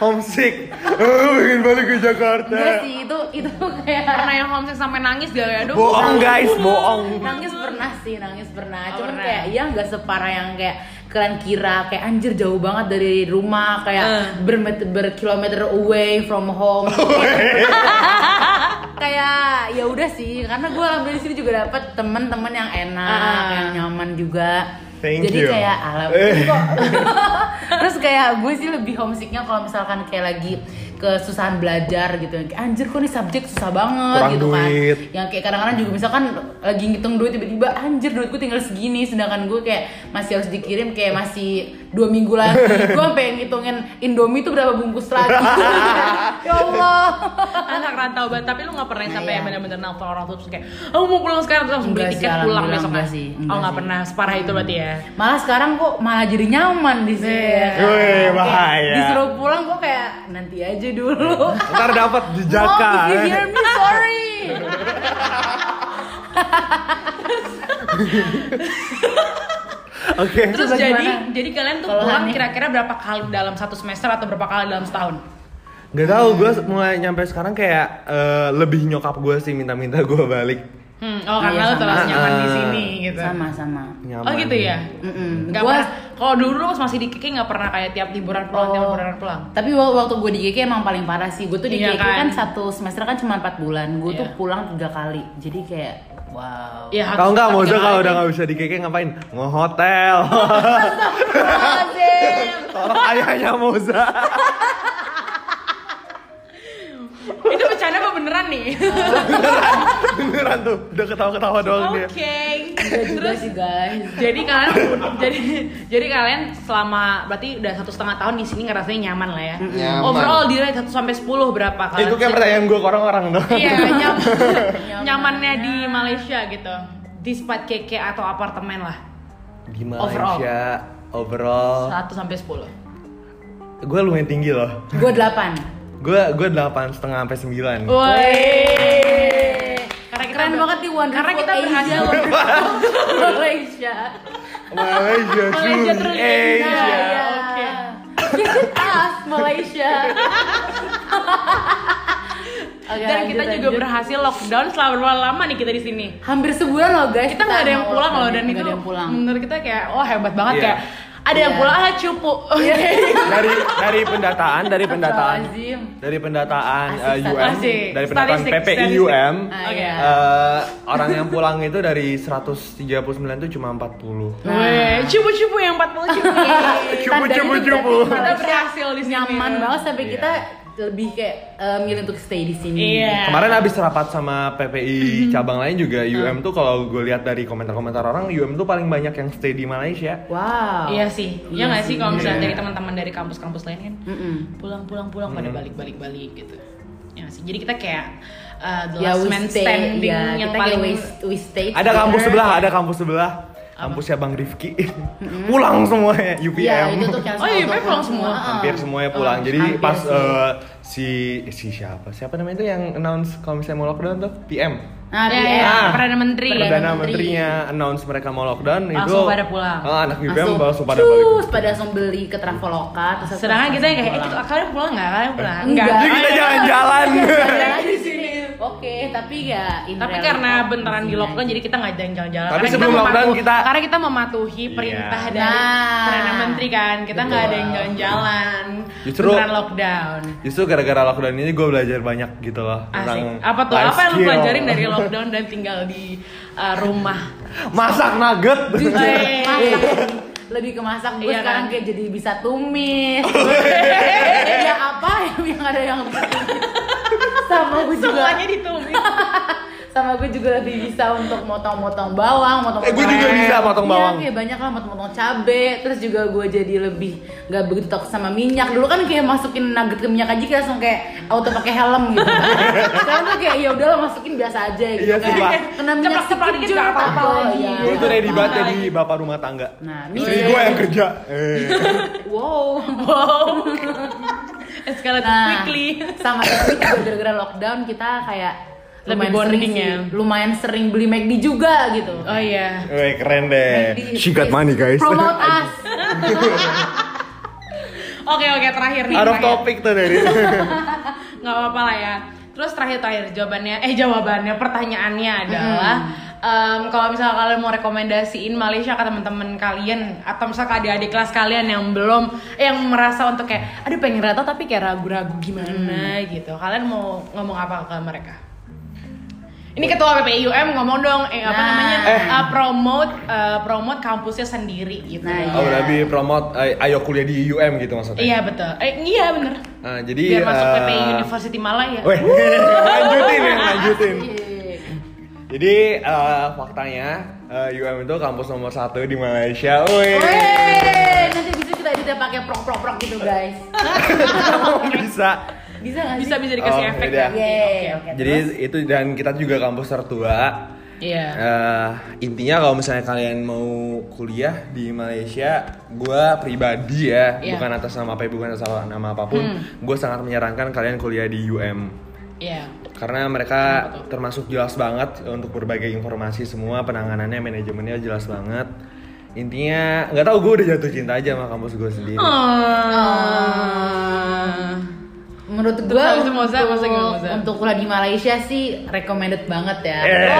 homesick. Lu pengen balik ke Jakarta.
enggak sih itu itu kayak
pernah yang homesick sampai nangis gak ya? Aduh,
Bohong guys, bohong.
nangis pernah sih nangis
Oh,
pernah cuman
pernah.
kayak ya nggak separah yang kayak kalian kira kayak anjir jauh banget dari rumah kayak
Hmm.
bermet- berkilometer away from home kayak ya udah sih karena gue alhamdulillah di sini juga dapet teman-teman yang enak
Ah.
yang nyaman juga
Thank
jadi
you.
kayak alhamdulillah terus kayak gue sih lebih homesicknya kalau misalkan kayak lagi kesusahan belajar gitu yang kayak anjir kok nih subjek susah banget
Kurang
gitu
duit.
kan yang kayak kadang-kadang juga misalkan lagi ngitung duit tiba-tiba anjir duitku tinggal segini sedangkan gue kayak masih harus dikirim kayak masih dua minggu lagi gue pengen ngitungin indomie itu berapa bungkus lagi ya Allah
anak rantau banget tapi lu nggak pernah yang
Nah,
sampai
iya.
yang benar-benar nelfon orang tua terus kayak oh mau pulang sekarang terus langsung beli
Enggak sih,
tiket pulang
alhamdulillah
besok
enggak
kan?
sih,
oh
enggak
nggak
sih. Hmm.
pernah separah itu berarti ya
malah sekarang kok malah jadi nyaman di sini ya kan?
Wih,
Kayak
bahaya. Iya.
disuruh pulang kok kayak nanti aja dulu
Ntar eh. dapat
Oh,
Mom,
jejakan.
if
iya.
you hear me, sorry
Oke.
terus
Coba
jadi
gimana?
jadi kalian tuh
Kalau
pulang
aneh.
kira-kira berapa kali dalam satu semester atau berapa kali dalam setahun
Gak tau, gue mulai nyampe sekarang kayak eh, lebih nyokap gue sih minta-minta gue balik
hmm, oh karena
Iya, Eh,
lu terlalu
sama.
nyaman di
Ah,
sini gitu
sama sama
nyaman.
oh gitu ya
Mm-mm.
Gak
Gua-
pernah, kalau dulu lu pas masih di KK gak pernah kayak tiap liburan pulang, tiap
Oh.
liburan pulang
Tapi wa- waktu gue di GK emang paling parah sih. Gue tuh di
Iya
GK
kan?
kan? satu semester kan cuma 4 bulan. Gue tuh
Iya.
pulang tiga kali. Jadi kayak wow.
Ya, harus-
Kalau nggak
harus
Moza
jalan
kalau
lagi.
udah nggak bisa di KK ngapain? Ngehotel. Tolong ayahnya Moza.
Itu bercanda apa beneran nih?
beneran, beneran tuh. Udah ketawa-ketawa doang dia.
Oke
Gak juga sih guys.
Jadi kalian jadi jadi kalian selama berarti udah satu setengah tahun di sini ngerasain nyaman lah ya.
Nyaman.
Overall di rate 1 sampai 10 berapa kalian?
Itu kayak pertanyaan gue ke orang-orang dong.
Iya, nyam-
Nyaman.
nyamannya di Malaysia gitu. Despite KK atau apartemen lah.
Di Malaysia overall,
1 sampai 10.
gue lumayan tinggi loh.
Gue 8.
Gue gue delapan setengah sampai sembilan.
Woi. Karena kita
Keren
ber-
banget nih Wonderful
Karena Kan kita
Asia,
berhasil
Wonderful Malaysia.
Malaysia,
Malaysia
Jun,
terus
Asia.
Iya,
Iya.
oke. Ah,
Visit us Malaysia. Oke,
dan
lanjut,
kita juga
lanjut.
berhasil lockdown selama berapa lama nih kita di sini.
hampir sebulan loh guys.
kita nggak ada yang
mau
pulang loh
lockdown,
dan
nggak
itu
ada yang pulang.
menurut kita kayak wah hebat banget
Iya.
kayak ada yang
Iya.
pulang ah cupu
dari dari pendataan dari pendataan
Astagfirullahaladzim.
dari pendataan
Asik,
eh, UM
asik.
dari pendataan
Statistik,
PPIUM
Ah,
Oke.
iya.
eh, Uh, orang yang pulang itu dari 139 itu cuma 40
Weh,
Nah.
cupu-cupu yang 40 cupu
Cupu,
Tandanya
cupu,
tuh
cupu.
berarti
kita
Malaysia
berhasil di sini
nyaman banget sampai
Iya.
kita lebih kayak eh, milih untuk stay di sini.
iya
Kemarin abis rapat sama
Mm-hmm.
PPI cabang lain juga
Ah.
UM tuh kalau gue lihat dari komentar-komentar orang UM tuh paling banyak yang stay di Malaysia.
Wow.
iya sih
Iya
ya nggak sih
sih.
kalau misalnya
Iya.
dari teman-teman dari kampus-kampus lain kan
Mm-mm.
pulang pulang pulang
Hmm.
pada balik balik balik gitu ya nggak sih jadi kita kayak uh, the
Ya
last
we
man
stay,
standing
ya,
yang
kita
paling
kayak we, we stay.
Ada kampus
together. Iya,
sebelah, ada kampus sebelah. Kampusnya Bang Rifki. pulang semuanya UPM.
Iya, Mm-hmm. itu tuh kayak
Oh, iya,
semua
UPM pulang semua.
Ah.
hampir semuanya pulang.
Oh,
Jadi
hampir
pas
sih.
eh, si si siapa? Siapa namanya itu yang announce kalau misalnya mau lockdown tuh PM.
Nah,
Ya,
iya.
ya,
Ah.
perdana menteri
Perdana
Menteri.
Menterinya announce mereka mau lockdown itu
Langsung pada pulang.
Ah, anak UPM
Langsung,
langsung pada
cus,
balik.
pada langsung beli ke Traveloka terus
sedangkan kita yang kayak eh,
pulang.
kita- Iya. kalian pulang nggak kalian pulang
Enggak.
Jadi kita jalan-jalan.
Jalan di sini. Oke, tapi ya in
Tapi
reality
karena bentaran di
sini
lockdown
aja.
jadi kita nggak jalan-jalan.
Tapi
Karena kita
sebelum lockdown
mematuhi-
kita-
karena kita mematuhi perintah
Iya.
dari
Nah.
perdana menteri kan, kita nggak ada yang jalan-jalan.
Justru-
Bentaran lockdown.
Justru gara-gara lockdown ini gue belajar banyak gitu loh
Asik.
tentang
Apa tuh?
life
Apa yang lu
skill.
pelajarin dari lockdown dan tinggal di uh, rumah?
Masak nugget.
Hey.
Masak. Iya. lebih ke masak gue
Iya kan?
sekarang kayak jadi bisa tumis
Oh, iya.
ya apa yang ada yang sama gue juga
Semuanya ditumis.
sama gue juga lebih bisa untuk motong-motong bawang,
Eh,
motong-motong
gue juga
lem.
bisa motong
Iya,
bawang.
kayak banyak lah motong-motong cabe, terus juga gue jadi lebih nggak begitu takut sama minyak. Dulu kan kayak masukin nugget ke minyak aja kayak langsung kayak auto pakai helm gitu. Sekarang tuh kayak ya udah lah, masukin biasa aja gitu.
Iya sih, Pak.
kayak, kena minyak
Ceplok-ceplok
sedikit
dikit
juga
nggak apa-apa lagi.
iya.
Gue tuh ready banget jadi
Lagi.
bapak rumah tangga.
Nah,
Iya.
Istri
ini-
gue yang kerja. Eh.
Wow.
Wow. Escalate
Nah,
quickly.
sama itu juga gara-gara lockdown kita kayak
Lebih
lumayan sering
bonding
sih,
ya.
lumayan sering beli McD juga gitu.
Oh iya.
Weh, keren deh.
McD,
She got
please
money guys.
Promote us.
Oke oke terakhir nih.
Out of
terakhir.
topic tuh dari.
nggak apa-apa lah ya terus terakhir-terakhir jawabannya eh jawabannya pertanyaannya adalah
Hmm.
em, kalau misalnya kalian mau rekomendasiin Malaysia ke teman-teman kalian atau misalnya ke adik-adik kelas kalian yang belum eh, yang merasa untuk kayak aduh pengen rata tapi
Hmm.
kayak ragu-ragu gimana gitu kalian mau ngomong apa ke mereka ini Ini ketua PPIUM ngomong dong eh, apa
Nah.
namanya?
Eh.
eh, promote eh, promote kampusnya sendiri gitu.
Nah,
Oh,
Iya.
lebih promote eh, ayo kuliah di UM gitu maksudnya.
Iya betul. Eh, iya bener.
Ah,
Biar
jadi
masuk
eh,
PPI University Malaya.
Weh, lanjutin ya, lanjutin.
Iya.
Jadi eh, faktanya eh, UM itu kampus nomor satu di Malaysia. Weh.
Weh, nanti bisa kita edit pakai prok-prok-prok gitu guys.
bisa.
Bisa nggak sih?
Bisa bisa dikasih
Oh,
efek ya.
yaudah.
nanti.
Yeay.
Oke, oke.
Oke,
Jadi
terus?
itu dan kita juga kampus tertua.
Iya.
Eh, intinya kalau misalnya kalian mau kuliah di Malaysia, gue pribadi ya,
Iya. Hmm.
bukan atas nama apa bukan atas nama apapun, gue sangat menyarankan kalian kuliah di UM
Iya.
karena mereka termasuk jelas banget untuk berbagai informasi semua penanganannya manajemennya jelas banget intinya nggak tahu gue udah jatuh cinta aja sama kampus gue sendiri
Oh.
Eh, Menurut
Terus
gua
habis itu Moza, Moza
untuk,
gimana, Moza?
untuk kuliah di Malaysia sih recommended banget ya.
Eh,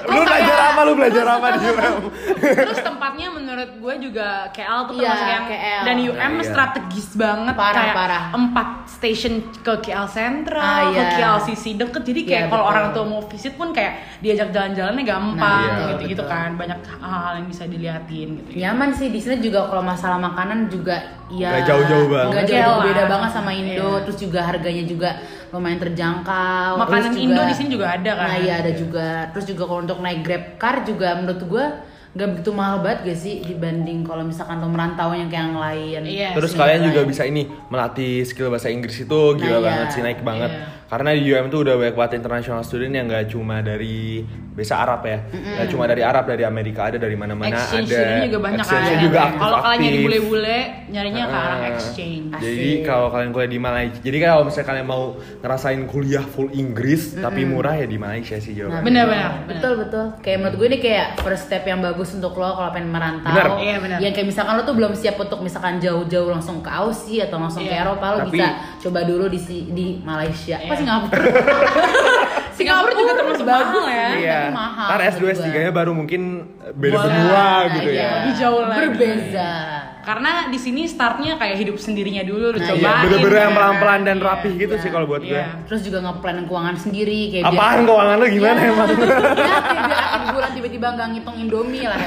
kok
lu belajar
kayak-
apa lu belajar apa di UM
Terus tempatnya menurut gue juga KL tuh termasuk
Iya,
yang
KL.
dan UM
Nah, iya.
strategis banget
Parah,
kayak
parah.
empat station ke KL Central,
Ah,
ke
iya.
KL CC deket jadi kayak
Iya,
kalau
betul.
orang tuh mau visit pun kayak diajak jalan-jalannya gampang
Nah,
iya,
gitu-gitu
betul.
kan banyak hal-hal yang bisa diliatin gitu.
Nyaman sih di sini juga kalau masalah makanan juga ya
Nggak jauh-jauh banget.
Nggak jauh
Oke lah.
beda banget sama Indo,
ah. Iya.
terus juga harganya juga lumayan terjangkau.
Makanan
Terus juga-
Indo di sini juga ada kan.
Nah iya ada juga. Terus juga kalau untuk naik Grab car juga menurut gua nggak begitu mahal banget gak sih dibanding kalau misalkan lo merantau yang kayak yang lain.
Iya.
Terus
Iya,
kalian
iya.
juga bisa ini melatih skill bahasa Inggris itu gila
Nah, iya.
banget sih naik banget.
Iya.
Karena di UM tuh udah banyak banget international student yang nggak cuma dari bahasa Arab ya, nggak cuma dari Arab dari Amerika ada dari mana-mana
exchange
ada.
student juga banyak kan.
Exchange-nya juga aktif.
Kalau kalian nyari
aktif.
bule-bule nyarinya ke arah
Ah.
exchange.
Jadi
Asik.
kalau kalian kuliah di Malaysia, jadi kalau misalnya kalian mau ngerasain kuliah full Inggris tapi murah ya di Malaysia sih jawabannya.
Benar-benar.
Betul betul. Kayak menurut gue ini kayak first step yang bagus untuk lo kalau pengen merantau.
Benar.
Iya, benar.
Yang kayak misalkan lo tuh belum siap untuk misalkan jauh-jauh langsung ke Aussie atau langsung
Iya.
ke Eropa lo
Tapi-
bisa coba dulu di si- di Malaysia.
Iya.
Apa Singapura?
Singapura juga termasuk bagus ya.
sih,
Iya.
Nah, tapi mahal.
Ntar S2
menurut
S3
gue.
nya baru mungkin beda
Boleh.
semua
Nah,
gitu
iya.
ya.
Lebih jauh lagi.
Berbeza.
Karena di sini startnya kayak hidup sendirinya dulu,
Nah,
nah,
iya,
Iya,
cobain.
bener-bener yang
kan.
pelan-pelan dan rapih
Iya,
gitu
iya.
sih kalau buat gue.
Iya.
Terus juga ngeplan keuangan sendiri kayak biar-
Apaan keuangan lu gimana emang?
Ya, kayak biar akhir bulan tiba-tiba nggak ngitung Indomie lah.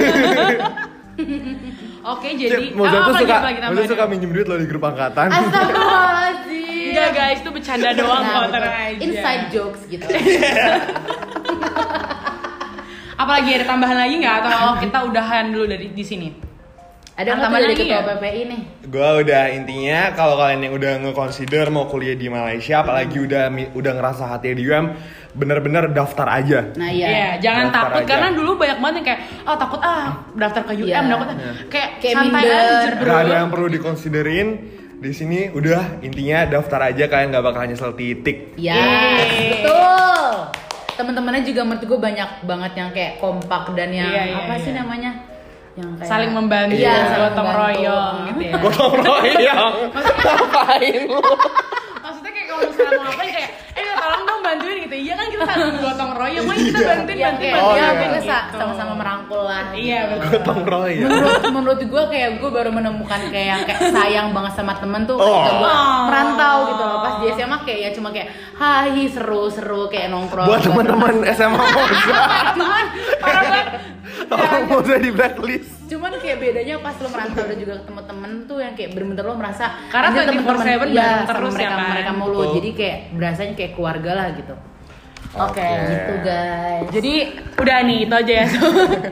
Oke, jadi
Cip, Moza
apa
tuh
lagi,
suka,
apa lagi
Moza
tambahan?
suka minjem duit lo di grup angkatan.
Astagfirullahaladzim.
Enggak Iya, guys, itu bercanda doang
Nah,
kok
betul.
tenang aja.
Inside jokes gitu.
Apalagi ada tambahan lagi nggak atau kita udahan dulu dari di sini? Ada
Ada nggak
tambahan
tuh dari
lagi
ketua
ya?
PPI nih?
gue udah intinya kalau kalian yang udah nge-consider mau kuliah di Malaysia, apalagi udah mi- udah ngerasa hatinya di UM, bener-bener daftar aja.
Nah
Iya,
iya.
jangan
Daftar
takut
aja.
karena dulu banyak banget yang kayak ah takut ah daftar ke UM,
Iya.
takut ah. kayak,
Kayak
santai
minder.
aja bro.
Gak ada yang perlu dikonsiderin. Di sini udah intinya daftar aja kalian gak bakal nyesel titik.
Ya,
Yeay.
betul. Teman-temannya juga menurut gue banyak banget yang kayak kompak dan yang
Iya, iya,
apa sih
iya.
namanya? Yang kayak
Saling membantu,
Iya, saling
gotong
membantu.
royong gitu ya.
Gotong royong. Ngapain lu?
Maksudnya kayak kalau misalnya mau ngapain kayak eh minta tolong dong bantuin gitu. Iya kan kita saling gotong royong, mari kita
Iya.
bantuin
Yang
bantuin bantuin.
Oh,
kayak
iya.
ya,
bantuin
pokoknya sa-
gitu.
sama-sama merangkul lah.
Oh,
Iya betul.
Gotong royong.
Menurut menurut gue kayak gue baru menemukan kayak yang kayak sayang banget sama temen tuh ketika gue
Oh.
merantau gitu loh pas di SMA kayak ya cuma kayak hai seru-seru kayak nongkrong.
Buat
Gua-
teman-teman SMA Moza,
Cuman
Parah banget.
tolong Moza di blacklist.
cuman kayak bedanya pas lo merantau dan juga ketemu temen tuh yang kayak bener-bener lo merasa
Karena
anjir,
24/7
iya,
bareng
sama
terus ya
mereka,
kan?
mereka mulu
Betul.
jadi kayak berasanya kayak keluarga lah gitu
Oke.
gitu guys
Jadi udah nih itu aja ya.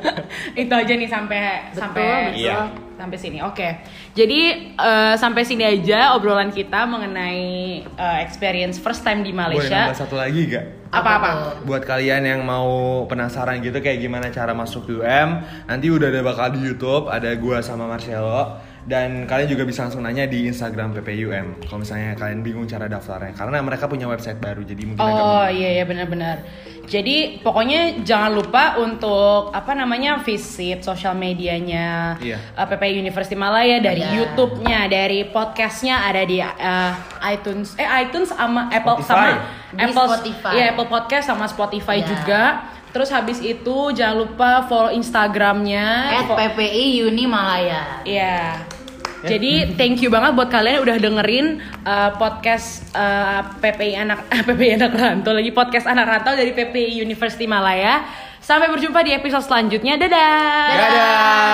itu aja nih sampai sampai
betul.
Iya.
sampai sini. Oke. Jadi eh, sampai sini aja obrolan kita mengenai eh, experience first time di
Boleh
Malaysia.
nambah satu lagi gak?
Apa-apa?
buat kalian yang mau penasaran gitu kayak gimana cara masuk UM nanti udah ada bakal di YouTube ada gua sama Marcelo dan kalian juga bisa langsung nanya di Instagram PPUM kalau misalnya kalian bingung cara daftarnya karena mereka punya website baru jadi mungkin agak
Oh
mudah.
iya iya benar-benar. Jadi pokoknya jangan lupa untuk apa namanya visit sosial medianya
Iya.
eh, PP University Malaya dari
Iya.
YouTube-nya, dari podcastnya ada di eh, iTunes, eh iTunes sama Apple
Spotify.
sama
Di
Apple
Spotify.
Iya, Apple Podcast sama Spotify
Iya.
juga. Terus habis itu jangan lupa follow Instagramnya.
at
Fo-
PPI Uni Malaya
Iya. Jadi thank you banget buat kalian yang udah dengerin uh, podcast uh, PPI anak PPI anak rantau lagi podcast anak rantau dari PPI University Malaya. Sampai berjumpa di episode selanjutnya. Dadah.
Dadah.